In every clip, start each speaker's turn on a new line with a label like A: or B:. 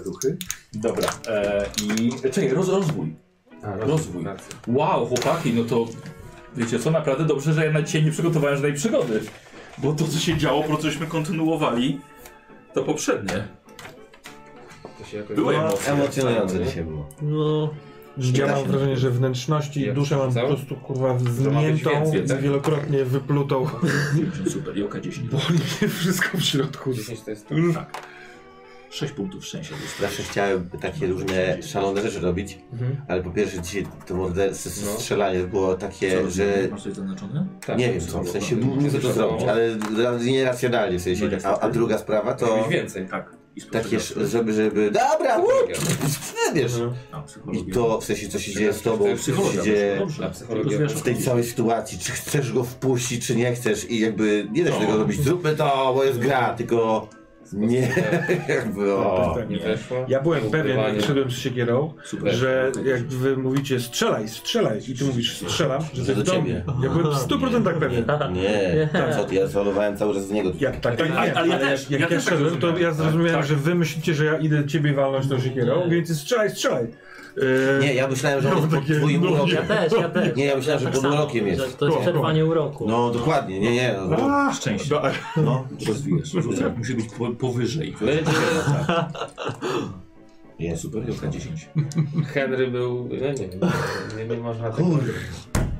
A: duchy.
B: Dobra. E, I czekaj, roz, rozwój.
A: A,
B: Rozwój.
A: racja.
B: Wow, chłopaki, no to wiecie co, naprawdę dobrze, że ja na dzisiaj nie przygotowałem żadnej przygody. Bo to, co się działo, po cośmy kontynuowali, to poprzednie.
A: To się jakoś...
B: Były
C: No,
B: emocje.
C: Emocjonujące
A: nie?
C: dzisiaj było.
D: No, ja
A: Da
D: mam
A: się.
D: wrażenie, że wnętrzności i
A: Jak
D: duszę mam po
A: przerzucało?
D: prostu kurwa
A: ma być
D: zmiętą
A: więcej, tak?
D: i wielokrotnie wyplutą.
B: Super, joka 10.
D: Boli mnie wszystko w środku.
A: 10 to jest to.
D: Mm.
B: 6 punktów szczęścia dostałem.
C: Zawsze chciałem takie różne szalone rzeczy robić, ale po pierwsze dzisiaj to morderstwo,
A: No.
C: strzelanie było takie, że
B: Masz coś zaznaczone?
A: Tak,
C: nie wiem co, w sensie
A: było.
C: nie co to zrobić, ale ra- nieracjonalnie w sensie. A, a druga sprawa to
A: Robić więcej.
B: Tak. I z
C: takie,
B: prostego-
C: sz- żeby, żeby, dobra,
A: No.
C: łuk, wiesz.
B: A, psychologia.
C: I to w sensie co się dzieje z tobą, co się
B: Psychologia, no
C: dzieje
B: dobrze.
A: na psychologię.
B: Rozumiesz,
C: w tej całej sytuacji, czy chcesz go wpuścić, czy nie chcesz i jakby nie da się
B: No.
C: tego robić, zróbmy to, bo jest gra, tylko nie, jakby o.
D: Tak,
A: Nie
B: Nie.
A: weszło.
D: Ja byłem pewien,
A: Zbudowanie.
D: jak szedłem z siekierą,
B: Super.
D: że jak wy mówicie strzelaj, strzelaj i ty mówisz strzelam, że to jest
C: do
D: do
C: ciebie.
D: mnie. Ja byłem w 100% pewien.
C: Nie, co ty, ja zalowałem cały czas z niego.
D: Ja, tak, tak,
B: Ale-
D: wiem,
B: ale ja
D: ale
B: też-
D: jak
B: ja
D: ja,
B: też tak
D: szedłem, to ja
B: zrozumiałem.
D: zrozumiałem,
B: Tak.
D: że wy myślicie, że ja idę ciebie walnąć tą siekierą, więc strzelaj, strzelaj. Yy,
C: Nie, ja myślałem, że on jest pod
D: takie-
C: twoim
D: no,
C: urokiem.
E: Ja też, ja też.
C: Nie, ja myślałem, że
E: tak
C: pod
E: samo,
C: urokiem
E: że
C: jest.
E: To jest
D: Tu,
E: przerwanie uroku.
C: No dokładnie, nie, nie. No, to-
D: A,
B: Tak. Szczęście.
D: do-
C: no.
B: Rozwijasz. Rozwijasz. Musi być po, powyżej.
A: Będzie...
C: Nie, super.
B: Super, joka 10.
A: Henry był... No nie wiem. Nie, nie można... tego-
C: Kurde,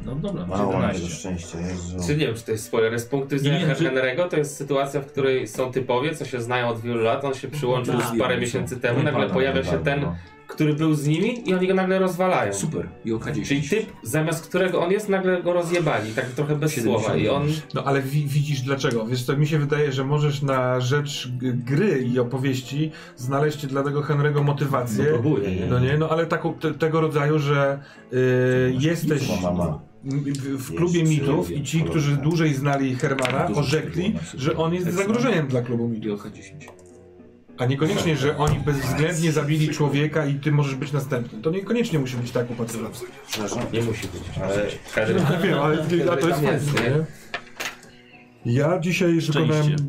B: No dobra,
C: mało mam
B: 17.
C: szczęścia, Jezu.
A: Czy nie wiem, czy to jest spoiler. Z punktu
B: Nie,
A: widzenia
B: nie, że-
A: Henry'ego to jest sytuacja, w której są typowie, co się znają od wielu lat. On się przyłączył
B: Tak.
A: już parę miesięcy temu. Nagle
B: Wypada,
A: pojawia się ten, który był z nimi i oni go nagle rozwalają.
B: Super, joka 10.
A: Czyli typ, zamiast którego on jest, nagle go rozjebali. Tak trochę bez
B: 70.
A: słowa. I on...
D: No ale wi widzisz dlaczego? Wiesz co, mi się wydaje, że możesz na rzecz g- gry i opowieści znaleźć dla tego Henry'ego motywację. No,
B: próbuję, nie?
D: nie, no ale taką, te, tego rodzaju, że y, jesteś
C: Co mama?
D: m- w- w klubie
C: Jest
D: mitów
C: psychologia,
D: i ci, którzy
C: psychologia.
D: dłużej znali Hermana,
B: Dużo
D: orzekli,
B: szczegółów na
D: że on jest
B: przykład.
D: zagrożeniem dla klubu mitów.
B: Joka 10.
D: A niekoniecznie, że oni bezwzględnie zabili człowieka i ty możesz być następnym. To niekoniecznie musi być tak opatrzone.
C: Przepraszam.
A: Nie musi być.
C: Ale
A: Henry...
D: Ja wiem, ale a to jest
A: Tam jest,
D: fajne, nie? Ja dzisiaj wykonałem
B: Szczęście.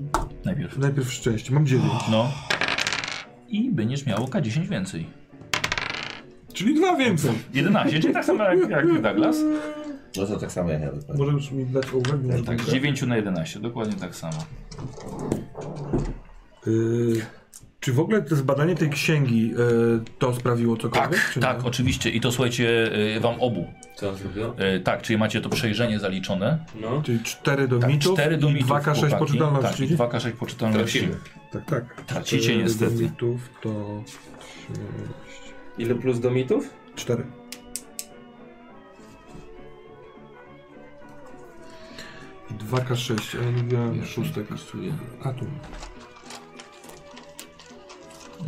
B: Najpierw.
D: najpierw szczęście. Mam 9.
B: No. I będziesz miał oka 10 więcej.
D: Czyli dwa więcej.
B: 11, czyli tak samo jak, jak Douglas.
C: No to tak samo jak ja wypadłem.
D: Możesz mi dać ołówek?
C: Tak,
D: Może
B: Tak,
D: tak.
B: z 9 na 11, dokładnie tak samo.
D: Y, czy w ogóle to zbadanie tej księgi y, to sprawiło cokolwiek? czy nie?
B: Tak, oczywiście. I to słuchajcie, y, wam obu.
A: Co on zrobił?
B: Y, Tak, czyli macie to przejrzenie zaliczone.
A: No.
D: Czyli 4 do
B: Tak,
D: mitów
B: cztery do
D: i
B: mitów,
D: 2K6
B: chłopaki.
D: poczytalności.
B: Tak, i 2K6 poczytalności.
A: Tracimy.
D: tak, tak.
B: Tracicie
D: Cztery
B: niestety.
D: do mitów to... sześć,
A: Ile plus do mitów?
D: cztery. I 2K6, a ja nie miałem szóstek. A tu.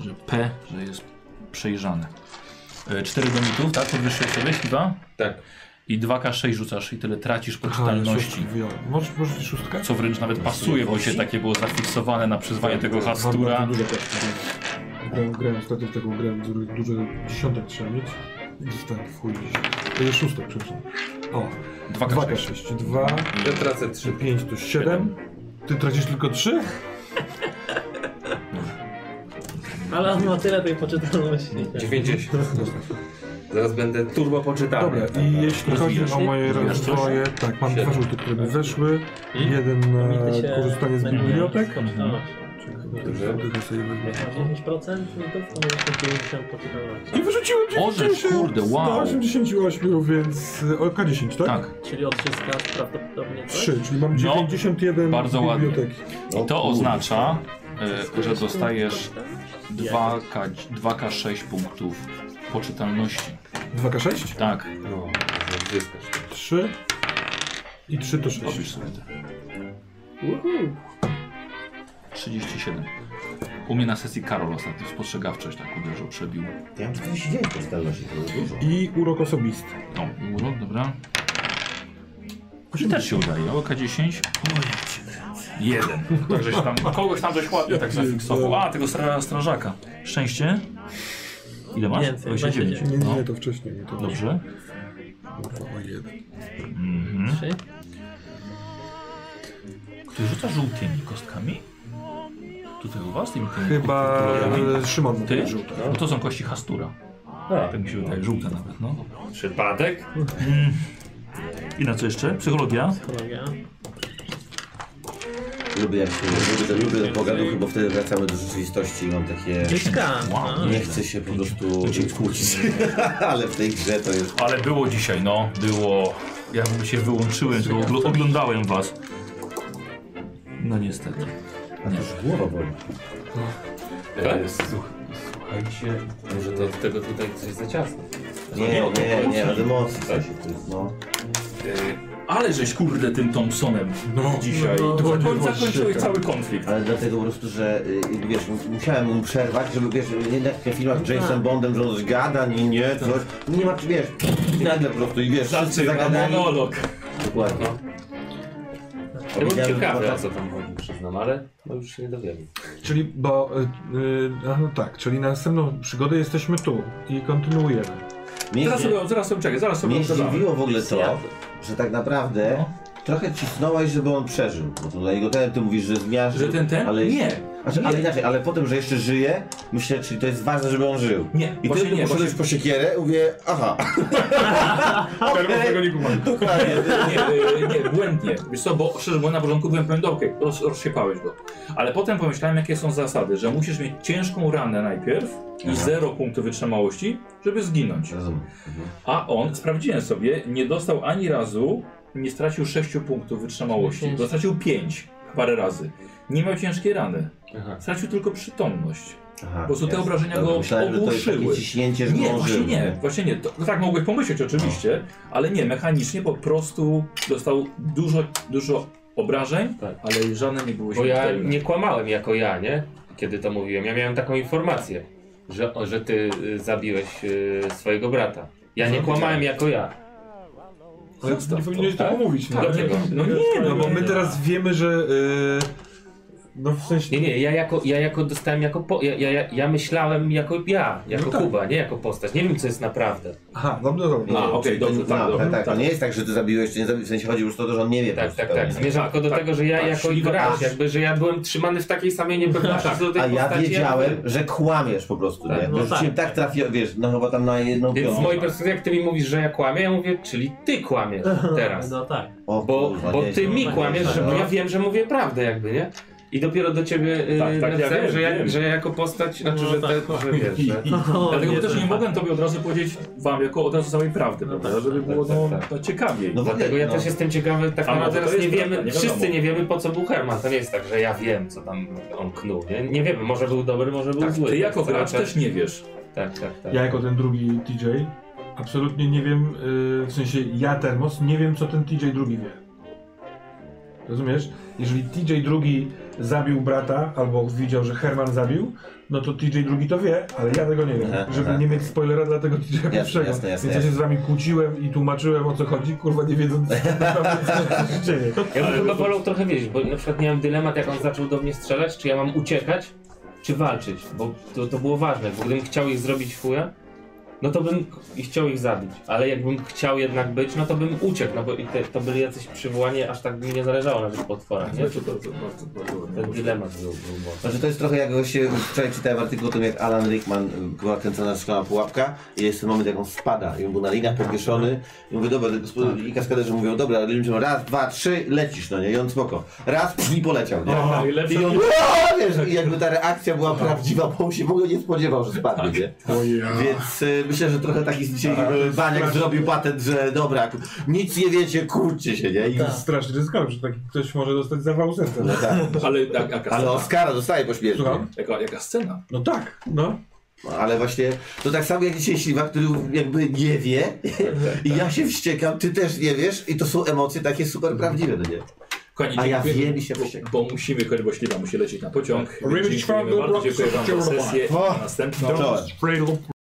B: Że P, że jest przejrzane. 4 do mitów, tak? Podwyższyłeś sobie chyba?
A: Tak.
B: I 2K6 rzucasz i tyle tracisz
D: Aha, ale
B: poczytalności.
D: szóstki wyjąłem. Możesz, możesz i szóstkę?
B: Co wręcz nawet pasuje, bo się takie było zafiksowane na przyzwanie tego hastura.
D: Tak, E, Bardzo dużo też Grałem, grałem ostatnio w taką grę, dużo, dużo dziesiątek trzeba mieć. I dostałem w chuj dziesiątek. To jest szóstek, przepraszam. O,
B: 2K6.
D: 2K6, 2,
A: Ja tracę trzy.
D: 5 to 7. Ty tracisz tylko 3?
E: Ale on ma tyle tej poczytalności.
A: 90. Zaraz będę turbo
B: Tak,
A: poczytany.
D: Dobra, i jeśli chodzi
B: Rozwijasz
D: o
B: się?
D: moje
B: Rozwijasz coś?
D: rozwoje, tak, mam dwa
A: Siedem.
D: rzuty, które mi weszły.
A: I?
D: Jeden na
E: Nigdy się
D: E, korzystanie z
E: będę miał
D: bibliotek.
E: skończyć.
A: Dobrze.
D: Tylko sobie wezmę.
E: Jak masz 10% mitów, to masz 50 poczytalności.
D: I wyrzuciłem
B: Boże,
D: 90
B: kurde, wow.
D: na 88, więc y, o K10, tak?
B: Tak.
E: Czyli odzyskasz prawdopodobnie coś?
D: 3, czyli mam
B: No,
D: 91
B: bardzo ładnie.
D: biblioteki.
B: I to oznacza, y, że
E: Skończysz
B: dostajesz
E: poczytalność?
B: 2K, 2K6 punktów poczytalności.
D: 2K6,
B: Tak,
A: No, odzyskasz.
D: 3 i 3 to 6.
B: robisz sobie to. Hmm? 37. U mnie na sesji Karol ostatnio spostrzegawczość tak uderzył, przebił.
C: Ja mam 49 poczytalności, to jest dużo.
D: I urok osobisty.
B: No, urok, dobra. I też się udaje, oka 10. Jeden. Także się tam, kogoś tam dość ładnie tak zafiksował. A, tego stra- strażaka. Szczęście. Ile masz?
E: Więcej,
B: 29.
D: Nie,
B: No,
D: nie, to wcześniej. Nie, to
B: dobrze.
D: Kurwa, o jeden.
B: Mhm.
E: Trzy?
B: Ty rzucasz żółtymi kostkami? tutaj u was? Tymi, tymi,
D: Chyba
B: tymi kolorami?
D: e, Szymon mu
B: Ty?
D: powiedział tak.
B: No to są kości Hastura. Tak mi się wydaje, żółte nawet, no.
F: Przypadek?
B: I na co jeszcze? Psychologia?
E: Psychologia.
C: Lubię jak się lubię, to lubię do pogaduchy, bo wtedy wracamy do rzeczywistości i mam takie...
E: Dziecka.
B: Wow.
E: No.
C: Nie chcę się po prostu kłócić, ale w tej grze to jest...
B: Ale było dzisiaj, no. Było. Ja bym się wyłączyłem, to ogl- oglądałem was. No niestety.
C: A to już głowa boli.
F: Tak?
A: E, słuch- Słuchajcie, może to od tego tutaj coś za ciasno.
C: Nie, nie, nie, ale mocy coś to jest, no.
B: Ale żeś kurde tym Thompsonem
D: No,
B: dzisiaj.
D: no,
B: No,
D: no,
B: no, zakończyłeś
D: właśnie,
B: cały konflikt.
C: Ale dlatego po prostu, że y, jakby wiesz, musiałem mu przerwać, żeby wiesz, nie na tych filmach z Jamesem Bondem, że on zgada, nie, nie, coś. Nie ma, wiesz, i nagle po prostu i wiesz, wszyscy zagadali.
B: monolog.
C: Dokładnie.
A: Ja byłem
C: Powiedziałem,
A: ciekawy,
C: że-
A: o co tam chodzi, przyznam, ale no już się nie dowiemy.
D: Czyli, bo, y, y, a no tak, czyli na następną przygodę jesteśmy tu i kontynuujemy.
C: Mnie,
B: Zaraz sobie, zaraz sobie czekaj, zaraz sobie
C: mnie
B: odgadamy.
C: zdziwiło w ogóle to, że tak naprawdę
B: No.
C: trochę cisnąłeś, żeby on przeżył. Bo to dla jego ten, ty mówisz, że zmiażdżył.
B: Że ten ten?
C: Ale,
B: Nie.
C: Znaczy,
B: nie.
C: ale inaczej, ale potem, że jeszcze żyje, myślę, czyli to jest ważne, żeby on żył.
B: Nie,
C: I
B: właśnie
C: ty
B: nie,
C: nie, poszedłeś
B: właśnie-
C: po siekierę, mówię, aha.
D: Karol tego nie kumam.
C: Dokładnie.
B: Nie, e, nie, nie, błędnie. Wiesz co, bo szczerze mówiąc na początku byłem pewien, okej, roz, rozsiepałeś go. Ale potem pomyślałem, jakie są zasady, że musisz mieć ciężką ranę najpierw i
C: Aha.
B: zero punktów wytrzymałości, żeby zginąć.
C: Rozumiem.
B: A on, sprawdziłem sobie, nie dostał ani razu, nie stracił 6 punktów wytrzymałości.
E: Pięć.
B: Bo stracił 5 parę razy. Nie miał ciężkiej rany.
A: Aha.
B: Stracił tylko przytomność.
C: Aha,
B: Po prostu te
C: jasne.
B: obrażenia
C: Dobra,
B: go
C: Myślałem, że to jest takie
B: ogłuszyły.
C: ciśnięcie, że
B: Nie,
C: on
B: właśnie
C: żył.
B: nie, właśnie nie. To, tak mogłeś pomyśleć oczywiście, ale nie, mechanicznie po prostu dostał dużo, dużo obrażeń,
A: Tak.
B: ale żadne nie było
A: Bo ja
B: śmiertelne.
A: nie kłamałem jako ja, nie? Kiedy to mówiłem. Ja miałem taką informację, że, że ty y, zabiłeś y, swojego brata. Ja nie kłamałem jako ja.
D: Ale
B: Zostaw
D: No, nie
B: to,
D: powinieneś
B: tak?
D: tego mówić. no.
B: Dlaczego? No nie,
D: No bo
B: nie,
D: my
B: nie.
D: teraz wiemy, że... y, No w sensie...
A: Nie, nie, ja jako, ja jako dostałem jako. Po, ja, ja, ja, ja myślałem jako ja, jako
D: No tak.
A: Kuba, nie jako postać. Nie wiem, co jest naprawdę.
D: Aha, no dobra, dobra.
B: A, okej, dobrze,
C: No,
B: tak,
C: tak,
B: dobrze.
C: tak, To nie jest tak, że ty zabiłeś, czy nie zabiłeś, w sensie chodzi już o to, że on nie wie. po
A: Tak,
C: prostu
A: tak,
C: pełni.
A: tak. Zmierzam tylko do
B: tak.
A: tego, że ja
B: Tak,
A: jako
B: czyli go-
A: Igor,
B: a.
A: jakby, że ja byłem trzymany w takiej samej niepewności
B: Tak.
A: co do tej
C: A ja
A: postaci.
C: wiedziałem, że kłamiesz po prostu,
A: Tak,
C: nie?
E: no
C: No, tak,
E: tak.
C: tak trafiłem, wiesz, no chyba tam na jedną
A: Więc z
C: piątą.
A: mojej
B: tak.
A: perspektywy, jak ty mi mówisz, że ja kłamię, ja mówię, czyli ty kłamiesz teraz.
E: No tak.
C: O
A: Bo,
C: kurwa,
A: bo
C: nie,
A: ty mi
E: no,
A: kłamiesz,
E: no.
A: że bo ja wiem, że mówię prawdę jakby, nie? I dopiero do ciebie yy,
B: Tak, tak, ja
A: napisałem,
B: wiem,
A: że, ja,
B: wiem.
A: że ja jako postać, znaczy,
E: No
A: że,
E: tak.
A: te, że wiesz, że...
E: O,
B: Dlatego też nie
E: tak.
B: mogłem tobie od razu powiedzieć wam jako od razu samej prawdy,
E: No
B: prawda?
E: tak,
B: żeby
A: tak,
B: było
A: tak,
B: no,
A: tak.
B: to ciekawiej.
C: No,
A: Dlatego ja też jestem ciekawy, tak
B: A, no,
A: naprawdę
B: to
A: teraz nie
B: jest
A: wiemy,
B: prawda, nie
A: wszyscy
B: wiadomo.
A: nie wiemy po co był Herman. To nie jest tak, że ja wiem co tam on knuł, nie? Nie wiemy, może był dobry, może był
B: tak,
A: zły.
B: ty jako
A: To
B: gracz
A: raczej-
B: też nie wiesz.
A: Tak, tak, tak.
D: Ja jako ten drugi TJ absolutnie nie wiem, y, w sensie ja Termos nie wiem co ten TJ drugi wie. Rozumiesz? Jeżeli TJ drugi zabił brata albo widział, że Herman zabił, no to TJ drugi to wie, ale ja tego nie wiem.
C: Aha,
D: żeby
C: aha.
D: nie mieć spoilera dla tego TJ pierwszego.
C: jasne, jasne,
D: Więc ja się z wami kłóciłem i tłumaczyłem o co chodzi, kurwa nie wiedząc co się dzieje.
A: Ja bym chyba wolał trochę wiedzieć, bo na przykład miałem dylemat, jak on zaczął do mnie strzelać, czy ja mam uciekać, czy walczyć, bo to, to było ważne, bo gdybym chciał ich zrobić fuja, no to bym i chciał ich zabić, ale jakbym chciał jednak być, no to bym uciekł, no bo i te, to byli jacyś przywołani, aż tak mi nie zależało na tych potworach, nie?
B: Bardzo, bardzo, bardzo, bardzo ładnie.
A: Ten dylemat był, był mocny.
C: Znaczy to jest trochę jak się wczoraj czytałem artykuł o tym jak Alan Rickman y, była kręcona szklana pułapka i jest ten moment jak on spada i on był na linach podwieszony i mówię dobra, to- i kaskaderzy mówią dobra, ale ludzie mówią raz, dwa, trzy, lecisz no nie i on spoko, raz pff, i poleciał nie?
F: Najlepsza
C: I on "Aaa!" wiesz, i jakby ta reakcja była prawdziwa, bo on się w ogóle nie spodziewał, że spadnie nie? Więc y, myślę, że trochę taki dzisiaj y, Baniak zrobił patent, że dobra, ku- nic nie wiecie, kurczcie się nie? I,
D: Tak. Strasznie ryzykowne, że taki ktoś może dostać zawał serca.
C: no tak.
B: Ale jak- jaka
C: Ale
B: scena?
C: Oscara dostaje pośmiertnie.
D: Słucham?
B: Jaka, jaka scena?
D: No tak, no.
C: Ale właśnie to tak samo jak dzisiaj Śliwa, który jakby nie wie i ja się wściekam, ty też nie wiesz i to są emocje takie super prawdziwe, no nie?
B: Kochani,
C: A ja
B: dziękujemy,
C: wiem i się
B: bo,
C: wściekam.
B: bo musimy, kochani, bo śliwa musi lecieć na pociąg.
D: Revenge
B: Dziękujemy
D: from the
B: bardzo, dziękuję wam za
D: Rock-
B: sesję.
C: O!
B: Następną.
C: No, Czołem.
D: Spray